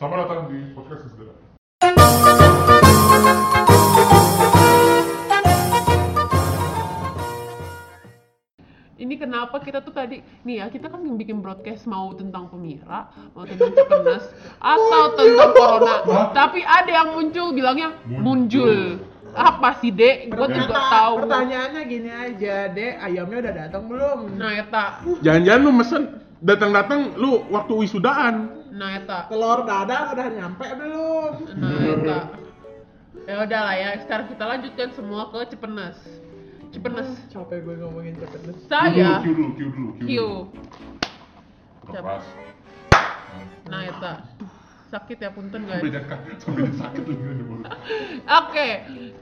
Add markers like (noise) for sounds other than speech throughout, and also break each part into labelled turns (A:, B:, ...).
A: Samara Tandy, podcast jest tyle.
B: ini kenapa kita tuh tadi nih ya kita kan bikin broadcast mau tentang pemira mau tentang kepenas atau tentang corona tapi ada yang muncul bilangnya muncul apa sih dek gue juga
C: Pertanyaan-
B: tahu
C: Pertanyaannya gini aja, Dek, ayamnya udah datang belum?
B: nah eta
D: Jangan-jangan lu mesen datang-datang lu waktu wisudaan.
B: nah eta
C: Telur dadar udah nyampe belum?
B: nah eta ya udah lah ya sekarang kita lanjutkan semua ke cepenas cepenas
C: Capek gue ngomongin cepet
B: saya
A: Q dulu, Q dulu, Q dulu. Q.
B: Q
A: Lepas.
B: nah eta sakit ya punten guys
A: Sampai jangka, sampai dia sakit lagi kan di mulut.
B: Oke,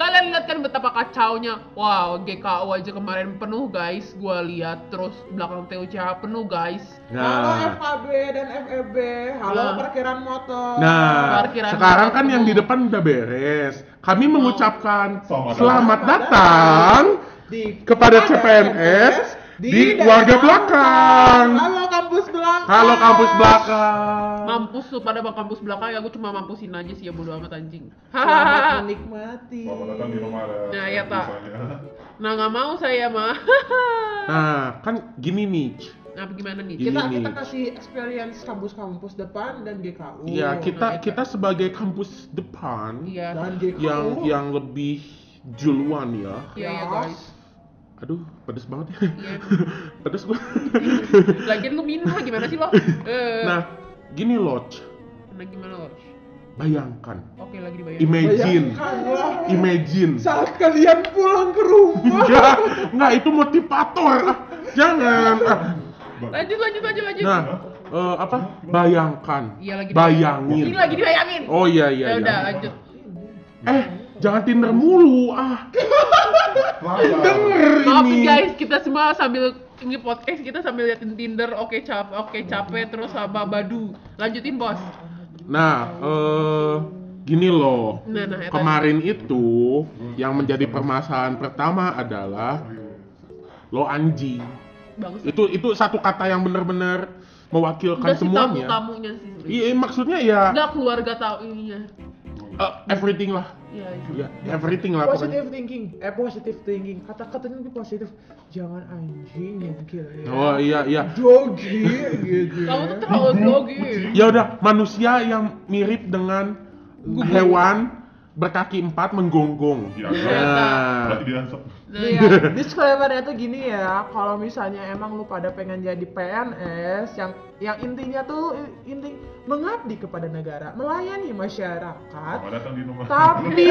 B: kalian lihat kan betapa kacaunya. Wow, GKU aja kemarin penuh guys. Gua lihat terus belakang TUCH penuh guys. Oh,
C: Halo
B: ya,
D: Nah,
C: FAB dan FEB, halo
B: Nah.
C: parkiran motor.
D: nah
B: Parkiran
D: sekarang kan
B: penuh.
D: yang di depan udah beres. Kami mengucapkan
A: Selamat
D: selamat
C: datang.
D: datang
C: Di-
D: kepada
C: ada
D: CPNS di
C: daerah
D: keluarga
C: Angkang.
D: belakang.
C: Halo kampus belakang.
D: Halo kampus belakang.
B: Mampus tuh pada bang kampus belakang ya gua cuma mampusin aja sih ya bodo amat anjing.
C: Selamat
B: Hahaha.
C: menikmati.
A: Selamat datang di Samara.
B: Nah, iya, Pak.
A: Misalnya.
B: (laughs) nah, nggak mau saya mah.
D: Nah, kan gini nih.
B: (laughs) nah, gimana nih?
D: Gini
C: Kita
D: nih.
C: kita kasih experience kampus-kampus depan dan GKU.
D: Ya,
B: nah,
D: kita
B: itu.
D: kita sebagai kampus depan
B: Iya.
C: dan GKU.
D: yang yang lebih juluan ya.
B: Iya, iya,
C: Ya.
B: guys.
D: Aduh, pedes banget ya.
B: Iya.
D: (laughs) pedes
B: (laughs)
D: gua.
B: Lagian lu minum lah, gimana sih
D: (laughs)
B: lo? Eh, nah.
D: nah, gini loh. Ci.
B: gimana lo?
D: Bayangkan.
B: Oke, lagi dibayar.
D: Imagine.
C: Bayangkanlah.
D: Iya. Imagine.
C: saat kalian pulang ke rumah
D: Enggak, (laughs) enggak Nah, itu motivator. Ah, Jangan. Ah,
B: Lanjut, lanjut, lanjut, lanjut.
D: Nah, eh, apa? Bayangkan.
B: Iya, lagi
D: Bayangin.
B: Ini lagi dibayangin.
D: Oh iya iya.
B: ya udah,
D: iya.
B: lanjut.
D: Eh, jangan Tinder mulu. Ah,
A: Lapar.
D: denger
B: Maafin
D: ini.
B: guys, kita semua sambil ini podcast kita sambil liatin Tinder, oke cap, oke capek terus sama Badu. Lanjutin bos.
D: Nah, eh gini loh.
B: Nah, nah, eta.
D: Kemarin itu yang menjadi permasalahan pertama adalah lo anjing.
B: bagus.
D: Itu itu satu kata yang benar-benar mewakilkan
B: Udah sih tamu
D: kan semuanya.
B: tamunya sih. sebenernya.
D: Iya, maksudnya ya
B: Enggak keluarga tahu ininya.
D: eh, everything lah.
B: Iya. iya.
D: Ya, everything lah pokoknya.
C: positive thinking eh positive thinking kata-katanya lebih positif jangan anjing ya gila ya
D: Oh iya iya.
C: jogi gitu
B: Kamu tuh terlalu grogi.
D: Ya udah, manusia yang mirip dengan hewan berkaki empat menggonggong.
A: Iya, iya.
D: Nah,
A: Berarti dia ansep.
B: Nah,
C: Iya, disclaimer itu gini ya, kalau misalnya emang lu pada pengen jadi PNS yang yang intinya tuh i- inti mengabdi kepada negara, melayani masyarakat,
A: Selamat datang di rumah.
D: (laughs)
C: tapi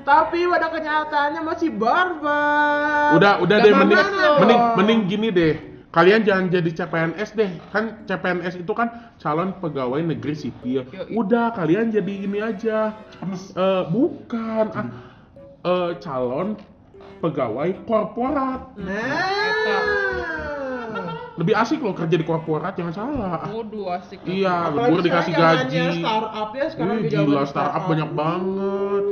C: tapi pada kenyataannya masih barbar.
D: udah udah
B: Gak
D: deh mending
C: kemana-mana dong.
D: mending mending gini deh. Kalian jangan jadi CPNS deh. Kan CPNS itu kan calon pegawai negeri sipil.
B: Yoi.
D: Udah kalian jadi ini aja. Eh, bukan ah, eh, calon pegawai korporat.
C: Hmm. Nah.
D: Lebih asik loh kerja di korporat, jangan salah.
B: Waduh asik.
D: Iya,
C: Apalagi
D: libur dikasih
C: sekarang yang
D: gaji.
C: namanya startupnya sekarang
D: Ih,
C: di
D: gila
C: zaman
D: startup
C: startup.
D: banyak banget.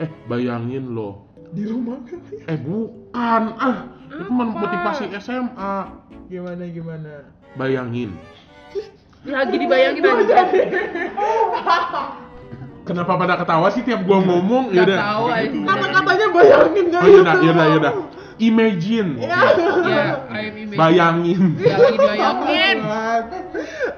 D: Eh, bayangin loh.
C: di rumah kan?
D: Eh, bukan. Ah, itu mah motivasi SMA.
C: gimana gimana
D: Bayangin.
B: Lagi dibayangin
D: Iya.
B: aja.
D: Kenapa pada ketawa sih tiap gua ngomong?
B: Gak
D: Yaudah.
B: tahu aja.
C: kata katanya bayangin gak
D: Oh, yaudah, yaudah, yaudah. Imagine.
C: Iya.
B: Ya, I'm imagine.
D: Bayangin.
B: Ya, lagi dibayangin.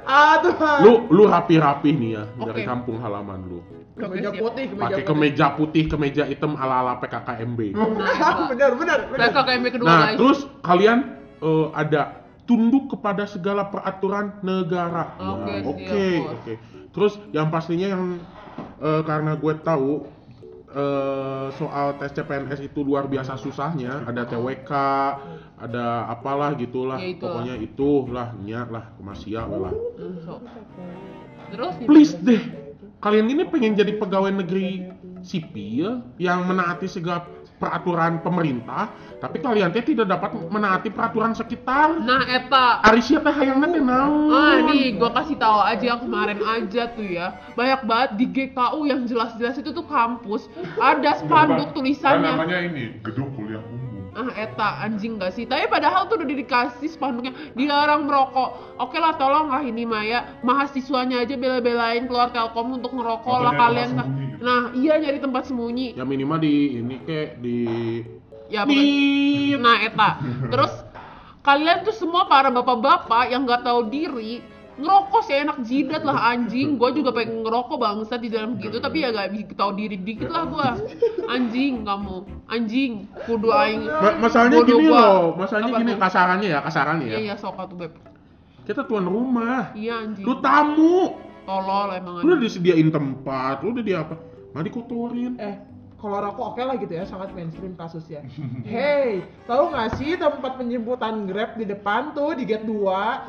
C: aduh
D: Lu lu rapi-rapi nih ya dari
B: Oke.
D: kampung halaman lu.
C: kemeja
B: siap.
C: putih kemeja
D: Pakai
C: putih (laughs)
D: kemeja putih, kemeja hitam ala-ala PKKMB.
C: bener bener bener
B: PKKMB kedua
D: Nah,
B: guys.
D: terus kalian eh, ada tunduk kepada segala peraturan negara. Nah,
B: Oke, siap,
D: Oke,
B: bos.
D: oke. Terus yang pastinya yang eh, karena gue tahu eh, soal tes CPNS itu luar biasa susahnya. Ada TWK, ada apalah gitulah.
B: Ya, itulah.
D: Pokoknya itulah, nyak lah, kemasia lah.
B: Hmm, so. Terus gimana?
D: Please deh, kalian ini pengen jadi pegawai negeri sipil yang menaati segala peraturan pemerintah, tapi kalian teh tidak dapat menaati peraturan sekitar.
B: Nah, eta
D: Arisia teh hayangna teh naon?
B: Ah nih, gua kasih tahu aja yang kemarin aja tuh ya. Banyak banget di GKU yang jelas-jelas itu tuh kampus. Ada
A: Bukan.
B: spanduk
A: Kan
B: tulisannya.
A: namanya ini, gedung kuliah umum.
B: ah eta anjing gak sih tapi padahal tuh udah dikasih spanduknya dilarang merokok oke lah tolonglah ini Maya mahasiswanya aja bela-belain keluar telkom untuk ngerokok
A: Atau nyari
B: lah
A: tempat
B: kalian
A: sembunyi gitu.
B: nah iya nyari tempat sembunyi
D: ya minimal di ini kek di
B: ya
D: di
B: pokoknya- nah eta terus kalian tuh semua para bapak-bapak yang nggak tahu diri ngerokok sih enak jidat lah anjing gue juga pengen ngerokok bangsa di dalam gitu tapi ya gak tahu diri dikit lah gua anjing kamu anjing kudu aing
D: Ma- masalahnya
B: Bodoh
D: gini
B: gua.
D: loh masalahnya
B: Apa
D: gini
B: tuh?
D: kasarannya ya kasarannya ya
B: iya iya sok tuh beb
D: kita tuan rumah
B: iya anjing
D: lu tamu
B: tolol emang
D: lu udah
B: anjing.
D: disediain tempat lu udah di apa mah dikotorin
C: eh kalau rokok oke lah gitu ya sangat mainstream kasusnya hey tahu nggak sih tempat penjemputan grab di depan tuh di gate 2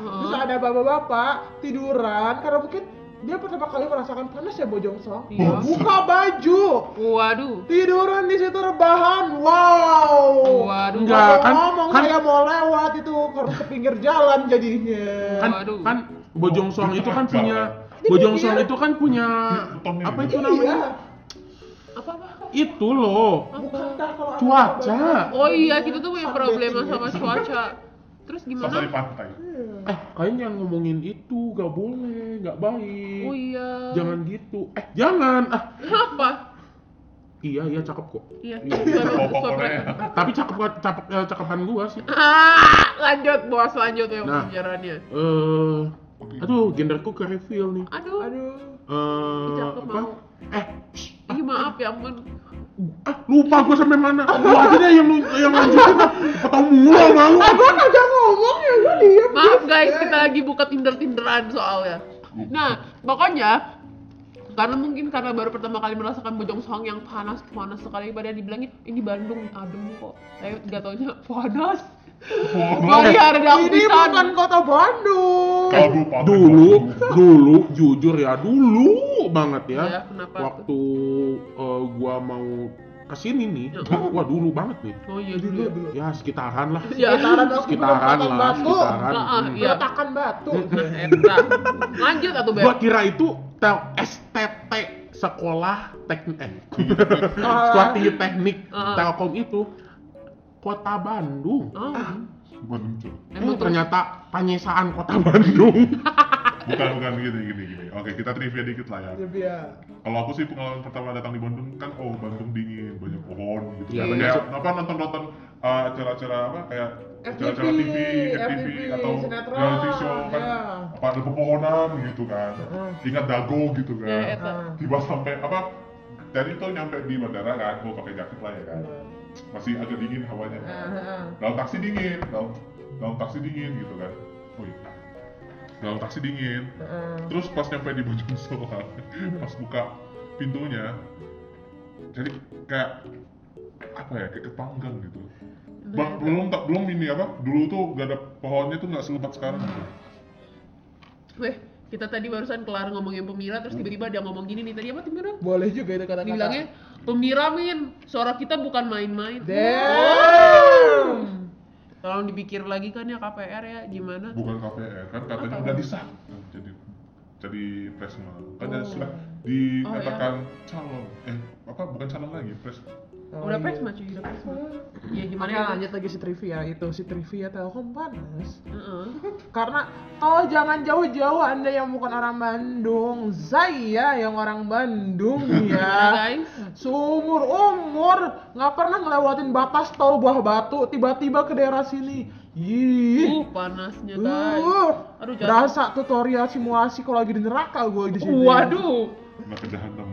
C: terus ada bapak-bapak tiduran karena mungkin dia pertama kali merasakan panas ya bojongsong
B: Iya.
C: buka baju
B: waduh
C: tiduran di situ rebahan wow
B: waduh
D: Enggak,
C: Kalau
D: kan-
C: ngomong
D: kan-
C: saya mau lewat itu harus ke pinggir jalan jadinya
D: kan
B: Waduh.
D: kan Bojongsong itu kan
A: Kacau.
D: punya
C: Ini
D: Bojongsong
C: dia.
D: itu kan punya
A: Utangnya
D: apa
A: dia.
D: itu
C: ya?
D: namanya
B: Iya. apa apa
D: itu loh
C: Iya, bukankah kalau ada
D: Cuaca.
C: bapak-bapak-
B: oh iya kita tuh punya problema
C: Sunbathing.
B: sama cuaca terus
A: Sasa di
B: gimana
A: pantai.
C: Iya.
D: eh kalian jangan ngomongin itu gak boleh gak baik
B: oh iya
D: jangan gitu eh jangan ah
B: kenapa
D: iya iya cakep kok
B: iya
A: Pokok Korea.
D: tapi cakep cakep eh, cakepan gua sih
B: Ah, lanjut bos lanjut ya
D: Nah.
B: pembicaraannya.
D: eh aduh genderku ke reveal nih
B: Aduh,
C: aduh
D: eh
B: Cakep
D: apa
B: mau.
D: eh
B: Ih, maaf ya ampun.
D: ah, lupa gua sampai mana lu aja deh yang yang lanjutin ah. ketemu mulu mau
C: gua kagak Kan ngomong ya lu diem
B: Maaf guys, kita lagi buka Tinder Tinderan soalnya. Nah, pokoknya karena mungkin karena baru pertama kali merasakan Bojong Soang yang panas panas sekali padahal dibilangin ini Bandung adem kok. Tapi nggak taunya panas.
C: Iya,
B: Bali ada di
C: Nah, ini
B: Akbisan.
C: bukan kota Bandung
A: Kabupaten.
D: dulu (laughs) dulu jujur ya dulu banget ya
B: Ya, kenapa
D: waktu eh, gua mau kesini nih
B: Iya.
D: (laughs) wah dulu banget nih
B: Oh iya dulu.
D: ya sekitaran lah
B: Ya,
C: sekitaran aku
D: sekitaran
C: belum potong
D: lah
C: batu
D: sekitaran
B: Ah, ah,
D: Hmm.
B: iya.
C: Peletakan batu
B: Nah, Eta. Lanjut atau iya, Beb?
D: gua kira itu tel STT sekolah teknik eh,
C: Ah.
D: sekolah tinggi teknik
B: Ah.
D: telkom itu kota Bandung
B: Oh, eh,
A: Bukan lucu.
D: Emang
B: emang
D: Ah, ternyata panyesaan kota (laughs) Bandung
A: Bukan bukan gini gini gini. Oke kita trivia dikit lah ya.
C: Iya.
A: Kalau aku sih pengalaman pertama datang di Bandung kan oh Bandung dingin banyak pohon gitu.
D: Iya,
A: kan.
D: bener.
A: Kayak apa nonton nonton acara-acara apa kayak acara-acara
C: FTV,
A: TV, FTV, atau
C: sinetron,
A: reality show kan
C: iya.
A: apa ada pepohonan gitu kan.
C: Heeh.
A: Ingat dago gitu kan.
B: Iya, Eta.
A: tiba sampai apa dari itu nyampe di bandara kan mau pakai jaket lah ya kan masih agak dingin hawanya kan.
C: Ah.
A: dalam taksi dingin dalam dalam taksi dingin gitu kan Wih. dalam taksi dingin terus pas nyampe di Bojong Soang pas buka pintunya jadi kayak apa ya kayak ketanggang gitu Ba- belum tak belum ini apa dulu tuh gak ada pohonnya tuh nggak selebat sekarang gitu.
B: Weh, kita tadi barusan kelar ngomongin pemira terus tiba-tiba dia ngomong gini nih. Tadi apa Tinder?
C: Boleh juga itu kata-kata.
B: Dibilangnya Pemira Min, suara kita bukan main-main. Oh,
C: Oh, Damn.
B: Tolong dipikir lagi kan ya KPR ya gimana?
A: bukan KPR kan katanya
B: Apa?
A: udah disah jadi jadi presma kan ada
C: Oh.
A: sudah dikatakan calon eh apa bukan calon lagi pres
B: Udah presma cuy, udah presma. Ya gimana
C: Makanya
B: ya?
C: iya. lanjut lagi si trivia itu, si trivia Telkom panas.
B: Heeh.
C: Karena oh jangan jauh-jauh Anda yang bukan orang Bandung, saya yang orang
B: (laughs)
C: Bandung
B: Nah,
C: ya.
B: guys,
C: Seumur umur nggak pernah ngelewatin batas tol buah batu, tiba-tiba ke daerah sini. Yih.
B: uh panasnya guys.
C: Uh,
B: Aduh, jatuh.
C: berasa tutorial simulasi kalau lagi di neraka gue di sini.
B: Waduh,
A: nah ke jahanam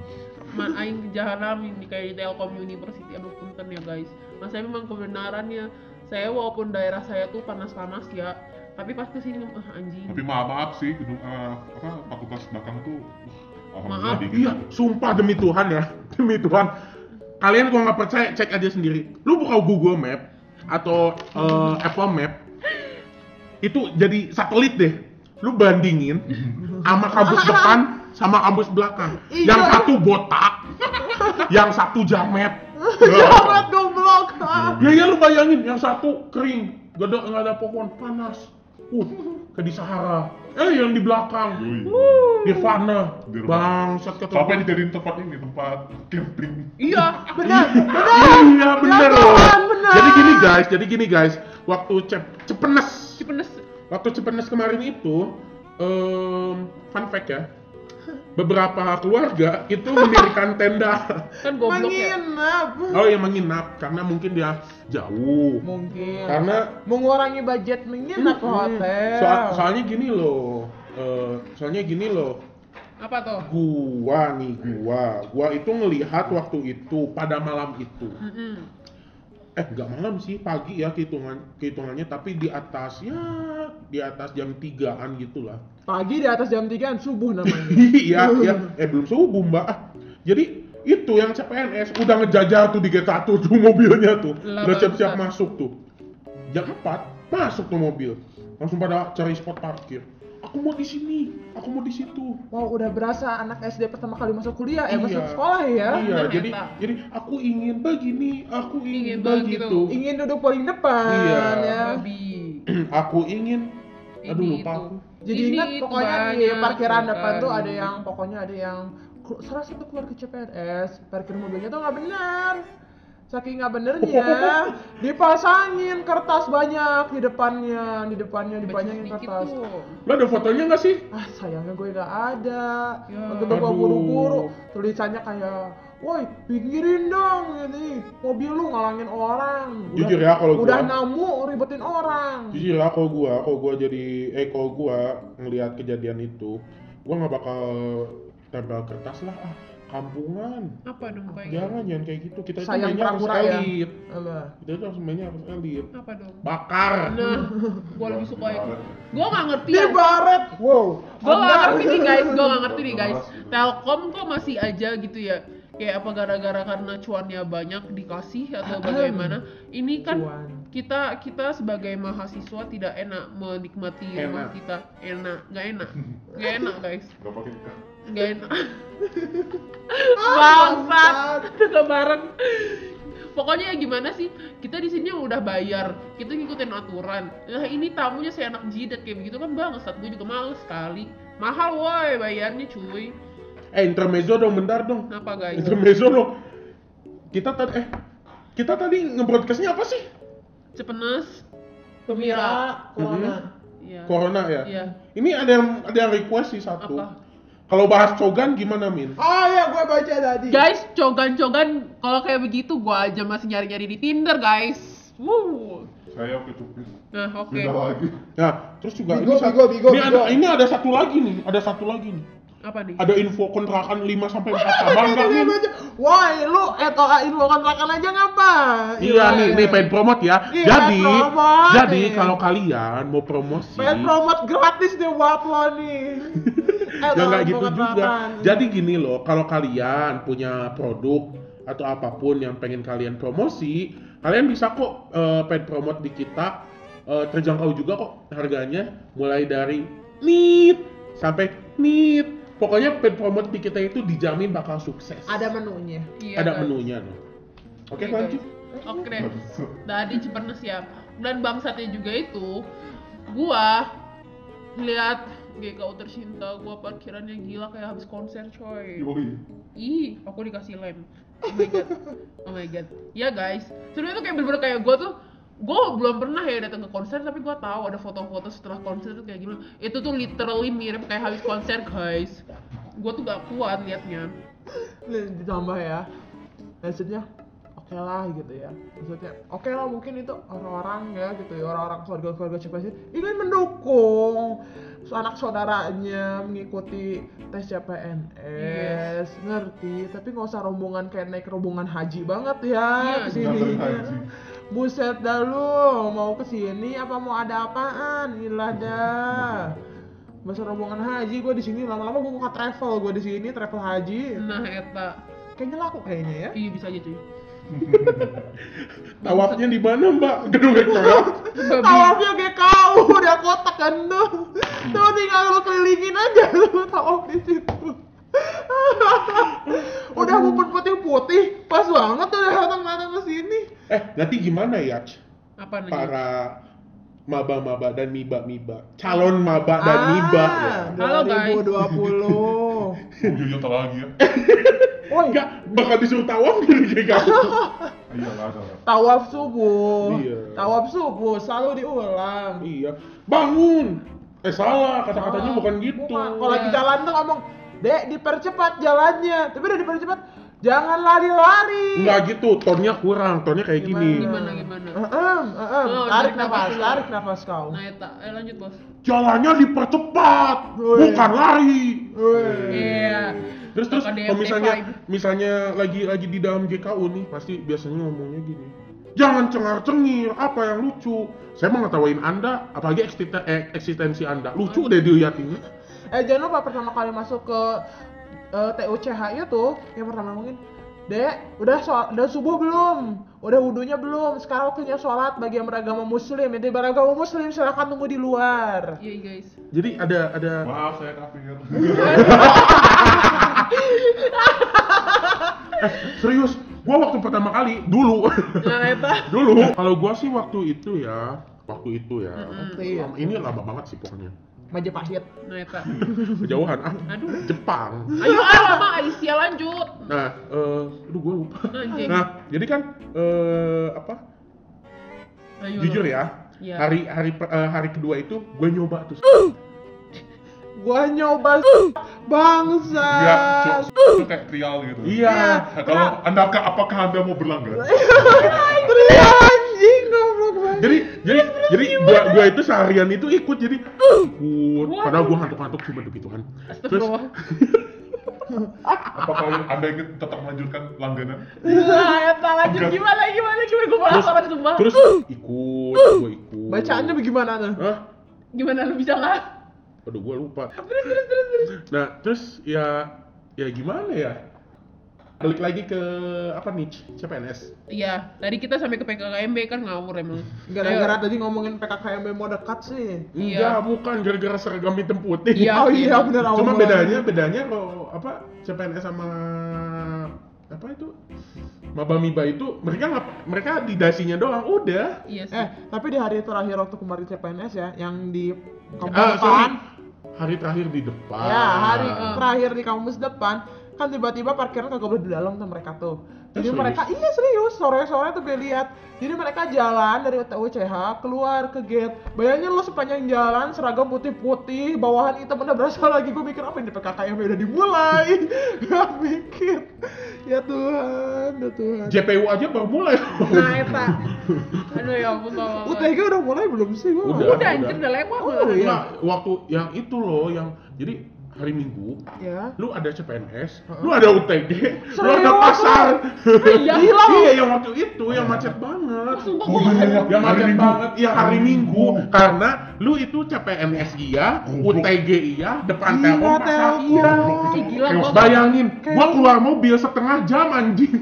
B: man aing jahanam ini kayak di Telkom University aduh punten ya guys. Nah, saya memang kebenarannya saya walaupun daerah saya tuh panas-panas ya, tapi pas kesini ah anjing.
A: tapi maaf maaf sih gedung eh, apa fakultas belakang tuh wah, alhamdulillah
B: Maaf,
A: dingin
D: Iya, sumpah demi Tuhan ya, (laughs) demi Tuhan. Kalian kalau nggak percaya cek aja sendiri. Lu buka Google Map atau eh, Apple Map itu jadi satelit deh. Lu bandingin sama kampus depan sama kampus belakang.
C: Iya.
D: Yang satu botak, yang satu jamet.
C: Jangan goblok.
D: Ya ya lu bayangin yang satu kering, gak ada nggak ada pohon panas. Uh, ke di Sahara. eh yang di belakang
A: Yoi.
D: Nirvana
A: Nirvana.
D: bangsat kata
A: Sampai
D: gua.
A: dijadiin tempat ini, tempat camping.
B: Iya.
C: benar
D: iya bener loh
C: Beneran, bener.
D: jadi gini guys jadi gini guys waktu cep cepenes
B: Cipenes.
D: waktu cepenes kemarin itu em fun fact ya beberapa keluarga itu mendirikan tenda
B: Kan (laughs) goblok ya.
C: menginap Uh.
D: oh yang menginap karena mungkin dia jauh
C: mungkin
D: karena
C: mengurangi budget
B: Uh, iya.
C: menginap ke hotel
D: Soal- soalnya gini loh eh, soalnya gini loh
B: Apa tuh?
D: gua nih gua gua itu ngelihat waktu itu pada malam itu
B: Mm-mm.
D: eh nggak malam sih pagi ya kehitungan kehitungannya tapi di atasnya di atas jam 3-an gitulah (laughs)
C: pagi di atas jam 3 subuh namanya
D: iya iya eh belum subuh mbak Ah, jadi itu yang CPNS udah ngejajar tuh di G1 tuh mobilnya tuh
B: Lah,
D: udah siap-siap
B: bangsat.
D: masuk tuh jam 4 masuk tuh mobil langsung pada cari spot parkir aku mau di sini aku mau di situ
C: wow udah berasa anak SD pertama kali masuk kuliah eh
D: Iya.
C: masuk sekolah ya
D: iya
B: Ternyata.
D: jadi jadi aku ingin begini aku
B: Ingin
D: ingin,
B: begitu.
D: begitu
C: ingin duduk paling depan
D: Iya.
C: ya
B: Babi.
D: aku ingin aduh
B: Ini
D: lupa
B: itu.
D: aku
C: jadi
B: Ini
C: ingat
B: itu
C: pokoknya di
B: banyak
C: parkiran
B: cerita.
C: depan tuh ada yang pokoknya ada yang kelu- salah satu keluarga CPNS parkir mobilnya tuh nggak bener saking nggak
D: (laughs)
C: benernya dipasangin kertas banyak di depannya di depannya dipanjangin
B: Baca sedikit
C: kertas
B: tuh.
D: Lo ada fotonya nggak sih?
C: ah sayangnya gue nggak ada
B: Ya.
C: waktu itu gue
D: Aduh.
C: buru-buru tulisannya kayak woi pinggirin dong ini mobil lu ngalangin orang udah,
D: Jujur ya kalau gua.
C: udah namu ribetin orang
D: Jujur lah kalau gua, kalau gua jadi eh kalau gua ngelihat kejadian itu, gua nggak bakal tempel kertas lah ah kampungan.
B: Apa dong
C: Ya,
B: kayak?
D: Jangan jangan kayak gitu. Kita itu
C: Sayang
D: mainnya harus
C: pura-pura ya.
D: elit.
C: Alah.
D: Kita itu harus mainnya harus elit.
B: Apa dong?
D: Bakar.
B: Nah, gua lebih suka itu. Gua nggak ngerti. ya.
C: Di Iya, baret, wow.
B: Gua nggak
C: Anda-
B: ngerti nih
C: (laughs)
B: guys, gua nggak ngerti nih guys. Telkom kok masih aja gitu ya? Kayak apa gara-gara karena cuannya banyak dikasih atau bagaimana? Ini kan
C: Cuan.
B: kita kita sebagai mahasiswa tidak enak menikmati rumah
D: Enak.
B: kita enak nggak enak nggak enak guys
A: Gak pakai ikan.
B: nggak enak bangsat kebaran pokoknya ya gimana sih kita di sini udah bayar kita ngikutin aturan nah ini tamunya saya enak jidat kayak begitu kan bangsat gue juga males sekali mahal woi bayarnya cuy
D: Eh intermezzo dong bentar dong.
B: kenapa guys
D: Intermezzo dong. Kita tadi eh kita tadi nge-broadcastnya apa sih?
B: cepenes
C: Pemira, corona.
D: Mm-hmm.
B: Iya.
D: Corona ya.
B: Iya.
D: Ini ada yang ada yang request sih satu.
B: Apa?
D: Kalau bahas cogan gimana Min?
C: Ah ya, gue baca tadi.
B: Guys, cogan-cogan kalau kayak begitu gua aja masih nyari-nyari di Tinder, guys. Woo.
A: Saya kecupis.
B: Nah, oke.
A: Pindah lagi.
D: Nah, terus juga ini,
C: Bigo,
D: sat-
C: bigo, bigo,
D: ini
C: bigo.
D: ada ini ada satu lagi nih, ada satu lagi nih.
B: Apa nih?
D: Ada info kontrakan 5 sampai 4 kamar
C: Ini
D: nggak
C: dia
D: nih?
C: baca. Wah, lu etoain lo kontrakan aja ngapa?
D: Iya nih, nih pengen promote ya.
C: Iya,
D: jadi,
C: promote.
D: jadi kalau kalian mau promosi,
C: Pengen promote gratis deh buat lo nih. Eh,
D: Mm-hmm. (laughs) ya nggak
C: tolong
D: gitu
C: kontrakan.
D: juga. Jadi gini loh, kalau kalian punya produk atau apapun yang pengen kalian promosi, kalian bisa kok eh, pengen promote di kita eh, terjangkau juga kok harganya mulai dari nit sampai nit. Pokoknya pengen promote di kita itu dijamin bakal sukses.
C: ada menunya.
B: Iya,
D: ada
B: guys.
D: menunya loh. Oke
B: Iya,
D: lanjut.
B: guys. Oke. deh.
A: Gak bisa.
B: Tadi Cipernes ya. Dan bangsatnya juga itu gua lihat GKU tercinta gua parkirannya gila kayak habis konser coy.
A: Yoi.
B: Ih, aku dikasih lem. Oh my god. Oh my god. Ya guys, sebenarnya tuh kayak bener-bener kayak gue tuh gue belum pernah ya datang ke konser tapi gue tahu ada foto-foto setelah konser tuh kayak gimana itu tuh literally mirip kayak habis konser guys gue tuh gak kuat liatnya
C: Nih, ditambah ya. Maksudnya oke lah gitu ya. Maksudnya oke lah mungkin itu orang-orang ya gitu ya orang-orang keluarga-keluarga CPNS ingin mendukung anak saudaranya mengikuti tes CPNS ngerti tapi nggak usah rombongan kayak naik rombongan haji banget ya
B: Iya,
A: Nganterin
C: kesini
A: haji.
C: buset dah lu mau kesini apa mau ada apaan ilah dah masa rombongan haji gue di sini lama-lama gue buka travel gue di sini travel haji
B: nah eta
C: Kayaknya laku kayaknya ya.
B: iya bisa aja cuy
D: Tawafnya di mana Mbak? (laughs) Gedung rektorat.
B: Babi.
C: Tawafnya GKU udah kotak kan tuh. Tuh tinggal lu kelilingin aja lu tawaf di situ. udah bubur putih-putih, pas banget udah datang datang ke sini.
B: Oh, iya.
D: eh nanti gimana ya?
B: apa nih
D: para maba-maba dan miba-miba. Calon maba dan
C: Ah.
D: miba. ya.
B: Halo, guys. (laughs)
C: 2020.
A: Oh, iya, iya, tak lagi ya.
C: Oh iya,
D: Enggak bakal disuruh (laughs) tawaf dari diri kamu.
A: Iya, lah, ada lah.
C: tawaf subuh.
D: Iya.
C: Tawaf subuh selalu diulang.
D: iya. Bangun. Eh salah, kata-katanya
C: Ah,
D: bukan gitu.
C: bukan. Kalau lagi jalan tuh ngomong, "Dek, dipercepat jalannya." Tapi udah dipercepat, jangan lari-lari.
D: Enggak gitu, tonnya kurang, tonnya kayak gini.
B: Gimana gimana?
C: Heeh, heeh.
B: Oh, tarik
C: Tarik nafas,
B: nafas dulu.
C: tarik nafas kau.
B: Nah, eta, eh lanjut, Bos.
D: Jalannya dipercepat,
C: Weh.
D: bukan lari.
C: Weh.
B: Iya.
D: Terus terus kalau
B: Kakak DMT
D: misalnya
B: vibe.
D: misalnya lagi lagi di dalam GKU nih, pasti biasanya ngomongnya gini. Jangan cengar-cengir, apa yang lucu? Saya mau ngetawain Anda, apalagi eksisten- eh, eksistensi Anda. Lucu deh dilihatinnya.
C: Eh jangan lupa pertama kali masuk ke eh, TUCH itu yang pertama mungkin Dek, udah sholat, udah subuh belum? Udah wudhunya belum? Sekarang waktunya sholat bagi yang beragama muslim. Yang tidak beragama muslim silahkan tunggu di luar.
B: Iya, guys.
D: Jadi ada ada
A: Maaf, saya kafir.
D: eh, serius, gua waktu pertama kali dulu (laughs)
B: Nah, eta.
D: dulu kalau gua sih waktu itu ya waktu itu ya
C: Iya.
D: Lama- ini lama banget sih pokoknya
C: Majapahit.
B: Nah, eta.
D: kejauhan ah
B: Aduh.
D: Jepang
B: Ayo, ah, Mama Aisyah lanjut.
D: nah eh aduh gua lupa
B: Anjing.
D: nah jadi kan eh apa
B: Ayo,
D: jujur
B: lo.
D: ya
B: Iya.
D: hari hari per- eh, hari kedua itu gue nyoba tuh
C: Gua nyoba bangsa.
A: Iya, cu- itu kayak trial gitu.
D: iya
A: Kalau anda apakah anda mau berlangganan?
C: Tri anjing goblok banget.
D: jadi jadi jadi gua gua itu seharian itu ikut jadi ikut padahal gua ngantuk-ngantuk cuma kan. demi Tuhan
B: Uh.
D: terus
B: Astagfirullah.
A: Apakah anda ingin tetap melanjutkan langganan?
B: Nah, eta lanjut gimana gimana gimana gue malah
D: Terus-
B: sama sumpah.
D: terus ikut gua ikut
C: Bacaannya bagaimana tuh?
D: Hah?
B: Gimana lu bisa nggak?
D: Aduh gua lupa. Nah, terus ya ya gimana ya? Balik lagi ke apa nih? CPNS.
B: Iya, tadi kita sampai ke PKKMB kan ngawur emang.
C: Gara-gara
B: Ayo.
C: tadi ngomongin PKKMB mau dekat sih.
D: Enggak,
B: Iya.
D: bukan gara-gara seragam hitam putih.
B: Iya.
C: oh iya bener awal
D: Cuma
C: mulanya.
D: bedanya bedanya kalau apa CPNS sama apa itu Maba Miba itu mereka ngap, mereka di dasinya doang udah.
B: Iya sih.
C: Eh, tapi di hari terakhir waktu kemarin CPNS ya, yang di kampus
D: Ah,
C: depan.
D: sorry. Hari terakhir di depan.
C: Ya, hari
B: Ah.
C: terakhir di kampus depan kan tiba-tiba parkiran kagak boleh di dalam tuh mereka tuh.
D: Ya,
C: Jadi
D: serius?
C: mereka iya serius sore-sore tuh gue lihat. Jadi mereka jalan dari UCH keluar ke gate. Bayangin lo sepanjang jalan seragam putih-putih, bawahan hitam udah berasa lagi gue mikir apa ini PKKM udah dimulai. (laughs) Gak mikir. Ya Tuhan, ya Tuhan.
D: JPU aja baru mulai.
B: Nah, eta. Aduh ya ampun, Mama.
C: UTG udah mulai belum sih gue?
D: Udah.
B: Udah anjir udah lewat.
C: (laughs) Oh,
B: malah.
C: iya.
D: Enggak, waktu yang itu loh yang jadi hari Minggu
C: Ya.
D: lu ada CPNS, lu ada UTG, lu ada
C: Serius,
D: pasar.
B: Iya.
C: Gila lu.
D: (laughs) iya, yang waktu itu yang macet banget.
B: Sumpah
A: Oh iya,
B: gue
A: iya,
D: Yang macet banget, yang hari Minggu
A: Minggu.
D: karena lu itu CPNS iya,
A: Goblok.
D: UTG iya, depan
C: Iya,
D: telkom pasar
C: Telkom.
D: iya.
A: Goblok, itu
B: Gila,
D: Terus
B: gua-
D: bayangin,
C: Kayak-
D: gua keluar mobil setengah jam anjing.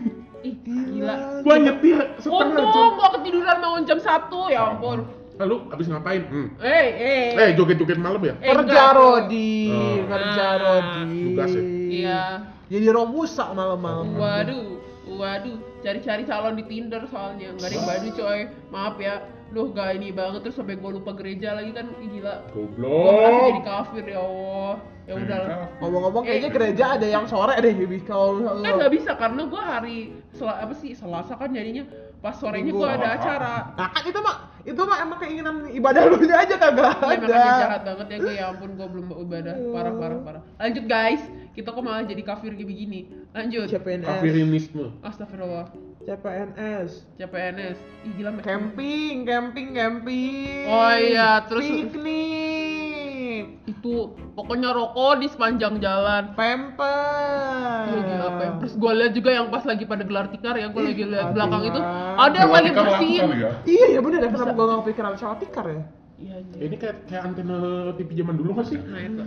B: Ih, gila.
D: Gua nyetir setengah jam.
B: Untung gua ketiduran bangun jam 1, ya ampun.
D: Lalu abis ngapain? Hmm.
B: Eh, eh.
D: Eh, joget-joget malam ya?
B: Eh, enggak.
C: kerja Rodi,
D: Oh.
C: kerja
B: Ah,
C: Rodi.
D: tugas ya?
B: Iya.
C: Jadi romusa malam-malam.
B: Waduh, waduh, cari-cari calon di Tinder soalnya nggak ada yang badu coy. Maaf ya, duh gak ini banget terus sampai gue lupa gereja lagi kan Ih, gila.
C: Oh.
B: Gue merasa jadi
D: Goblok.
B: kafir ya Allah.
C: Iya,
B: Ya
A: Jadi
B: udah. lah.
C: kan.
A: kafir.
C: Ngomong-ngomong kayaknya
B: Eh.
C: gereja ada yang sore deh Bibi kalau
B: Kan nggak bisa karena gue hari sel- apa sih Selasa kan jadinya pas sorenya gue
C: Minggu.
B: ada acara.
C: Nah kan itu mah itu mah emang keinginan ibadah lu nya aja kagak
B: Iya makanya
C: ada.
B: jahat banget ya gue ya ampun gue belum ibadah parah parah parah. Lanjut guys, kita kok malah jadi kafir kayak begini. Lanjut.
C: CPNS,
D: Kafirinisme.
B: Astagfirullah.
C: CPNS,
B: CPNS. Ih gila. Mas.
C: camping, camping, camping.
B: Oh iya, terus-
C: piknik,
B: Itu pokoknya rokok di sepanjang jalan.
C: pempes.
B: Iya, gila, Pampers. Gue lihat juga yang pas lagi pada gelar tikar ya, gue lagi lihat
C: aduh,
B: belakang
C: Mas.
B: itu ada yang lagi
A: Ketika laku
B: bersihin.
A: kali ya.
C: Iya ya bener ya kenapa gue nggak kepikiran soal tikar ya?
B: Iya, iya.
D: Ini kayak kayak antena TV zaman dulu nggak sih?
B: Nah, itu.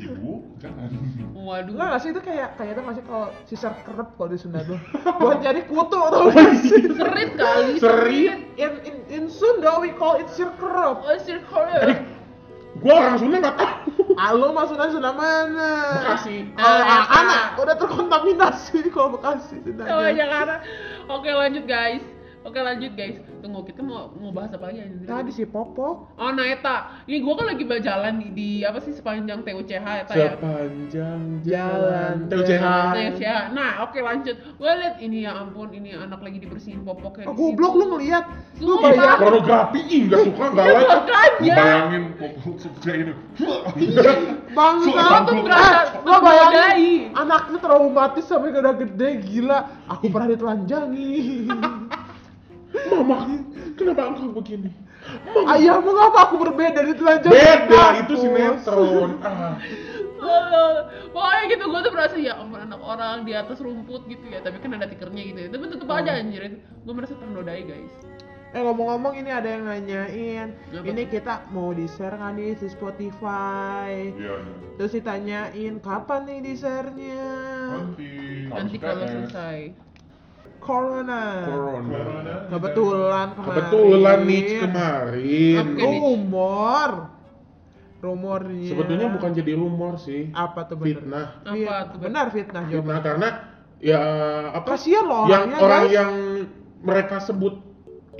A: Ibu, jangan.
B: Iya, Waduh.
C: Enggak nggak sih itu kayak kayak itu masih kalau sisar kerep kalau di Sunda tuh. Buat nyari kutu tau gak sih?
B: Serit kali.
D: Serit.
C: In, in, in Sunda we call it sir kerep.
B: Oh, sir, kalau-
D: Gua orang Sunda nggak tahu.
C: Halo Mas Sunda Ah, Sunda mana?
D: Bekasi.
C: Oh, ah,
B: Oh, iya,
C: anak udah terkontaminasi kalau Bekasi Sundanya.
B: Sama Jakarta. Oke, lanjut guys. Oke lanjut guys, tunggu kita mau mau bahas apa lagi anjir?
C: Tadi si Popok.
B: Oh nah Eta, ini gua kan lagi berjalan di, di apa sih sepanjang TUCH Eta ya?
D: Sepanjang
C: jalan.
D: TUCH.
B: TUCH. Nah oke lanjut, gua liat ini ya ampun ini anak lagi dibersihin popoknya
C: Oh,
B: di
C: goblok
B: situ.
C: lu ngeliat. Lu
B: Sumpah.
C: bayar.
D: Pornografi ih nggak suka nggak like.
A: Lu
B: Makanya. Iya.
A: bayangin pokok sukses ini.
C: Bangsa.
B: Lu tuh berasa
C: Gua
B: menodai.
C: bayangin anaknya traumatis sampai udah gede gila. Aku pernah ditelanjangi.
D: Mama, kenapa engkau begini?
C: Ayahmu ngapa aku berbeda ditelanjangi?
D: Beda itu
C: Mampus.
D: sinetron. Ah.
B: Pokoknya gitu gue tuh merasa ya ampun anak orang di atas rumput gitu ya Tapi kan ada tikernya gitu ya Tapi tetep
C: Hmm.
B: aja anjir Gue merasa ternodai guys
C: Eh ngomong-ngomong ini ada yang nanyain.
D: Iya,
B: Apa?
C: Ini kita mau di-share nggak nih di Spotify?
A: Iya, iya.
C: Terus ditanyain kapan nih di-share-nya?
A: Nanti.
B: Nanti
A: harus
B: kalau
A: tes.
B: selesai
C: Corona.
A: Corona.
D: Corona.
C: Kebetulan kemarin.
D: Kebetulan nih kemarin. Oh,
B: Oke, Nich.
C: Rumor. Rumornya.
D: Sebetulnya bukan jadi rumor sih.
C: apa tuh bener?
D: Fitnah.
B: Apa
C: Fit-
B: tuh bener?
C: benar fitnah jawaban.
D: Fitnah karena ya apa sih
C: Kasihan loh
D: yang
C: orangnya
D: orang
C: guys.
D: yang mereka sebut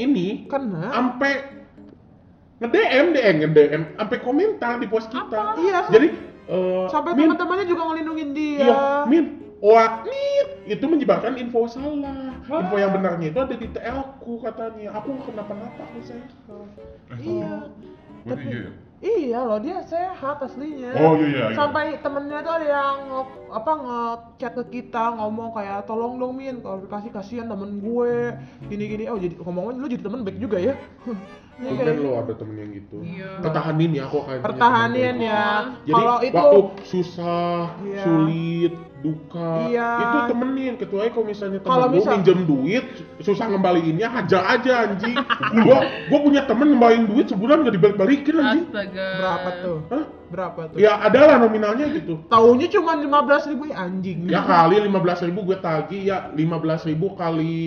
D: ini
C: kena.
D: sampai nge-DM deh, eh, nge-DM sampai komentar di post
B: Apa?
D: kita.
C: Iya.
D: Jadi eh,
C: Sampai
D: Min,
C: teman-temannya juga ngelindungin dia.
D: Iya, Min, wah, Min, itu menyebarkan info salah. Info yang benarnya itu ada di TL-ku katanya. Aku nggak kenapa-napa, aku sehat.
A: Eh,
C: kan? Iya.
A: gua nih, iya. ya?
C: Iya loh dia sehat aslinya.
A: Oh iya iya. iya.
C: sampai temennya tuh ada yang nge- apa ngechat ke kita ngomong kayak tolong dong min kalau dikasih kasihan temen gue gini gini oh jadi ngomongin lu jadi temen baik juga ya (laughs) Ini
D: Tumben
C: kayak
D: lo ada temen yang gitu.
B: Iya.
D: Pertahanin ya, aku akan. punya
C: pertahanin
D: temen
C: ya
D: baik. Jadi
C: kalau itu
D: waktu susah,
C: Iya.
D: sulit, duka,
C: Iya.
D: itu temenin. Kecuali kalau misalnya temen
C: Kalau
D: gua
C: misal-
D: minjem duit, susah ngembaliinnya, hajar aja anjing. gua, gua punya temen ngembaliin duit sebulan nggak dibalik-balikin anjing.
B: Astaga
C: (laughs) berapa tuh
D: Hah?
C: berapa tuh
D: Ya adalah nominalnya gitu.
C: taunya cuma lima belas ribu ih, anjing
D: Ya kali 15.000 gue tagih ya 15.000 kali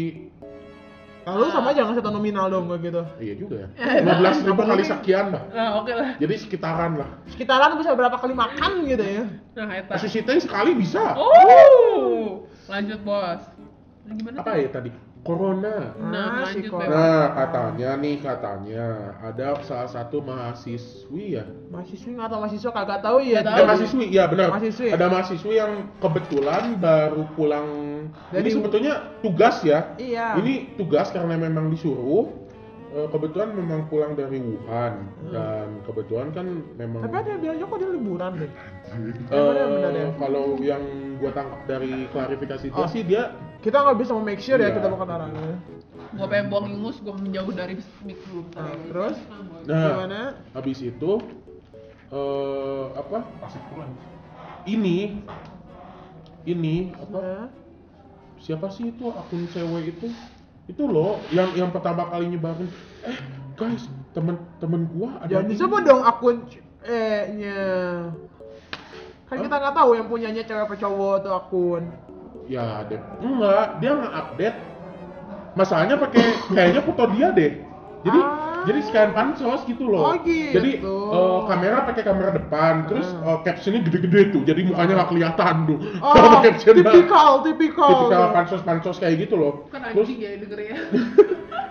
C: lalu sama jangan satu nominal dong gue gitu
D: iya juga ya. 15.000 kali sekian lah.
B: Nah oke lah
D: Jadi sekitaran lah.
C: sekitaran bisa berapa kali makan gitu ya
B: Nah Eta
D: Sushi Teng sekali bisa.
B: Oh Lanjut bos Nah, Gimana
D: Apa ya tadi? Corona.
B: Nah,
C: Ah, si
B: lanjut,
C: Cor-
B: Beb.
D: Nah, katanya nih katanya ada salah satu mahasiswi ya.
C: mahasiswi atau mahasiswa kagak tahu ya
B: Nggak
D: Ada
B: tahu.
D: mahasiswi, iya benar.
C: Mahasiswi.
D: Ada mahasiswi yang kebetulan baru pulang. Jadi
C: Dari-
D: sebetulnya tugas ya.
C: iya
D: Ini tugas karena memang disuruh. Eh, Kebetulan memang pulang dari Wuhan dan kebetulan kan memang.
C: Hmm. tapi ada yang bilangnya kok dia liburan deh
D: Eh,
C: Bener, bener, ya.
D: kalau yang gua tangkap dari klarifikasi dia
C: Oh.
D: sih dia
C: kita nggak bisa make sure ya
D: Iya.
C: kita bukan orangnya
B: Gue pengen buang ingus, gue menjauh dari mic dulu bentar.
C: Nah, terus?
D: nah
C: gimana
D: habis itu eh apa
A: Asik pulang.
D: ini ini apa
C: Nah,
D: siapa sih itu akun cewek itu itu loh yang yang pertama kali nyebarin eh guys temen-temen gua ada
C: jangan
D: yang-
C: disebut dong Ya, akun c- eh nya kan kita nggak tahu yang punyanya cewek apa cowok tuh
D: (laughs)
C: akun
D: ya deh enggak dia nggak update masalahnya pakai kayaknya foto dia deh jadi
C: Ah.
D: jadi sekalian pansos gitu loh
C: Oh, gitu.
D: jadi eh, kamera pakai kamera depan terus eh,
C: Ah.
D: captionnya gede-gede tuh jadi mukanya nggak kelihatan tuh
C: oh
D: captionnya
C: tipikal tipikal
D: tipikal pansos pansos kayak gitu loh
B: Kan
D: terus
B: anjing ya denger
C: (laughs)
B: ya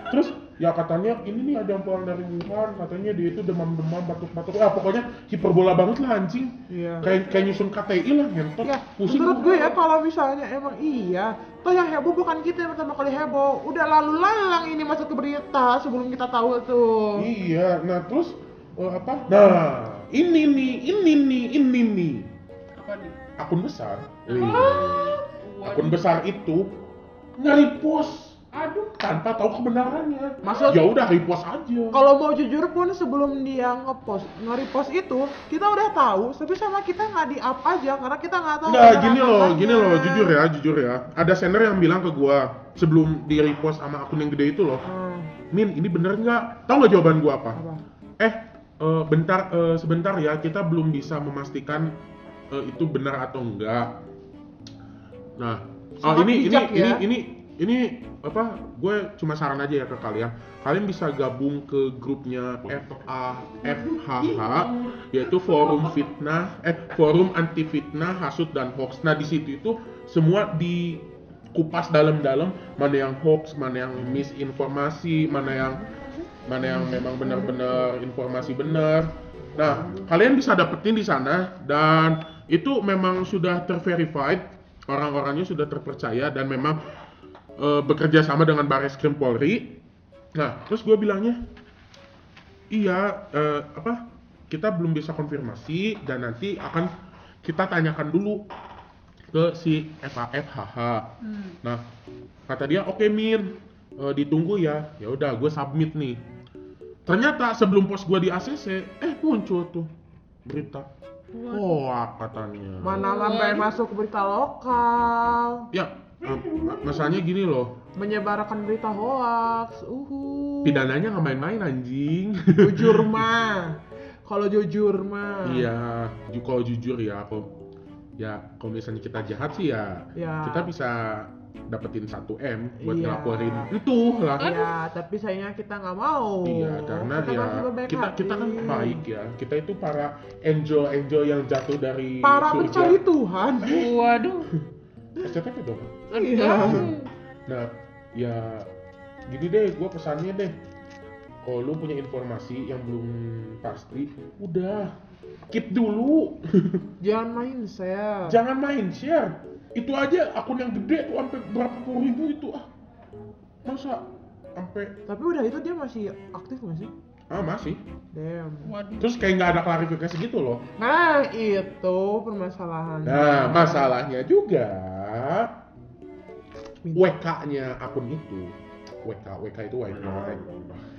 D: terus ya katanya ini nih ada yang pulang dari Wuhan katanya dia itu demam-demam batuk-batuk ah pokoknya hiperbola banget lah anjing
C: iya
D: kayak kayak nyusun KTI lah ngentot
C: Ya,
D: pusing
C: menurut
D: gua.
C: gue ya kalau misalnya emang iya, toh yang heboh bukan kita yang pertama kali heboh, udah lalu lalang ini masuk ke berita sebelum kita tahu tuh.
D: Iya, nah terus eh, apa? Nah, ini nih, ini nih, ini nih.
B: Apa nih?
D: Akun besar. Ah,
B: Waduh.
D: Akun besar itu nge-repost
B: Aduh
D: tanpa tahu kebenarannya.
C: Maksud-
D: ya udah repost aja.
C: Kalau mau jujur pun sebelum dia ngepost, nge-repost itu kita udah tahu, tapi sama kita nggak di up aja karena kita nggak tahu.
D: Nggak,
C: beneran
D: gini loh,
C: apanya.
D: gini loh, jujur ya, jujur ya. Ada sender yang bilang ke gua sebelum di repost sama akun yang gede itu loh,
C: Hmm,
D: Min, ini bener nggak? Tahu nggak jawaban gua apa?
C: apa?
D: Eh, eh, bentar, eh, sebentar ya, kita belum bisa memastikan eh, itu benar atau enggak. Nah, oh,
C: Sangat
D: ini ini
C: bijak
D: ini
C: ya.
D: ini ini apa? Gue cuma saran aja ya ke kalian. Kalian bisa gabung ke grupnya FAFHH, yaitu Forum Fitnah, eh Forum Anti Fitnah, Hasut dan Hoax. Nah, di situ itu semua di kupas dalam-dalam mana yang hoax, mana yang misinformasi, mana yang mana yang memang benar-benar informasi benar. Nah, kalian bisa dapetin di sana dan itu memang sudah terverified, orang-orangnya sudah terpercaya dan memang eh, bekerja sama dengan Baris Krim Polri. Nah, terus gue bilangnya, iya eh, apa? Kita belum bisa konfirmasi dan nanti akan kita tanyakan dulu ke si FAF HH.
C: Hmm.
D: Nah, kata dia, oke Min, eh, ditunggu ya. Ya udah, gue submit nih. Ternyata sebelum post gue di ACC, eh muncul tuh berita. Wah katanya.
C: Mana sampai masuk ke berita lokal,
D: Ya, eh, masalahnya gini loh.
C: menyebarkan berita hoax, uhu.
D: Pidananya nggak main-main anjing. (laughs)
C: Jujur mah, kalau jujur mah.
D: Iya, ju- kalau jujur ya, kalau ya kalau misalnya kita jahat sih ya,
C: Ya.
D: kita bisa dapetin 1 m buat
C: Iya.
D: ngelaporin itu lah.
C: Iya, tapi sayangnya kita nggak mau.
D: Iya, karena
C: kita
D: ya
C: masih berbaik
D: kita
C: hati.
D: kita kan baik ya. Kita itu para angel-angel yang jatuh dari surga.
C: Para mencari Tuhan. (laughs)
B: Waduh.
D: SCTV dong.
C: Iya.
B: Aduh.
D: Nah, ya gini deh, gua pesannya deh. Kalau lu punya informasi yang belum pasti, udah keep dulu.
C: Jangan main saya.
D: Jangan main share. Itu aja akun yang gede tuh sampai berapa puluh ribu itu ah. Masa sampai
C: Tapi udah itu dia masih aktif nggak sih?
D: ah masih.
C: Damn.
B: Waduh.
D: Terus kayak nggak ada klarifikasi gitu loh.
C: Nah itu permasalahannya.
D: Nah, masalahnya juga
C: Minta-
D: WK-nya akun itu. WK, WK itu white
A: Hmm.
D: knight.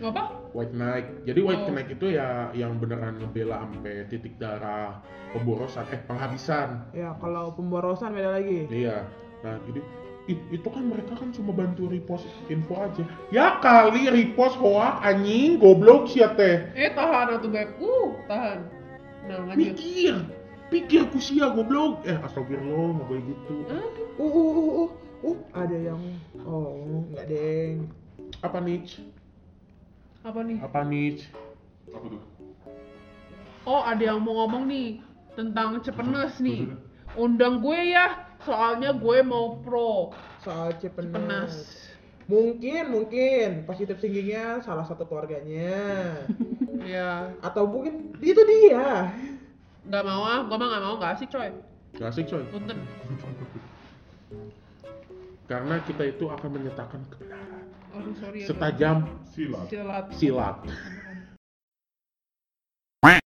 B: Apa?
D: White knight. Jadi white
B: Oh.
D: knight itu ya yang beneran ngebela sampai titik darah pemborosan eh penghabisan.
C: Ya kalau pemborosan beda lagi.
D: Iya. Nah, jadi "Ih, itu kan mereka kan cuma bantu repost info aja. Ya kali repost hoak anjing goblok sia teh.
B: Eh tahan atau beb. Uh, tahan. Nah, lanjut.
D: Mikir, pikir kusia goblok. Eh astagfirullah nggak boleh gitu.
B: Aduh.
C: Uh uh uh uh, uh. ada yang oh nggak deng.
D: Apa niche?
B: Apa nih?
D: Apa niche?
A: Apa tuh?
B: Oh, ada yang mau ngomong nih tentang cepenes nih. Undang gue ya, soalnya gue mau pro
C: Soal Cipenas.
B: cepenes.
C: Mungkin mungkin positif tingginya salah satu keluarganya.
B: Ya,
C: Atau mungkin itu dia.
B: nggak mau ah, gue mah nggak mau nggak asik coy.
D: Gak asik coy.
B: Punten.
D: Karena kita itu akan menyatakan kebenaran
B: Aduh sorry ya.
D: setajam
A: Silat.
B: Silat.
D: silat.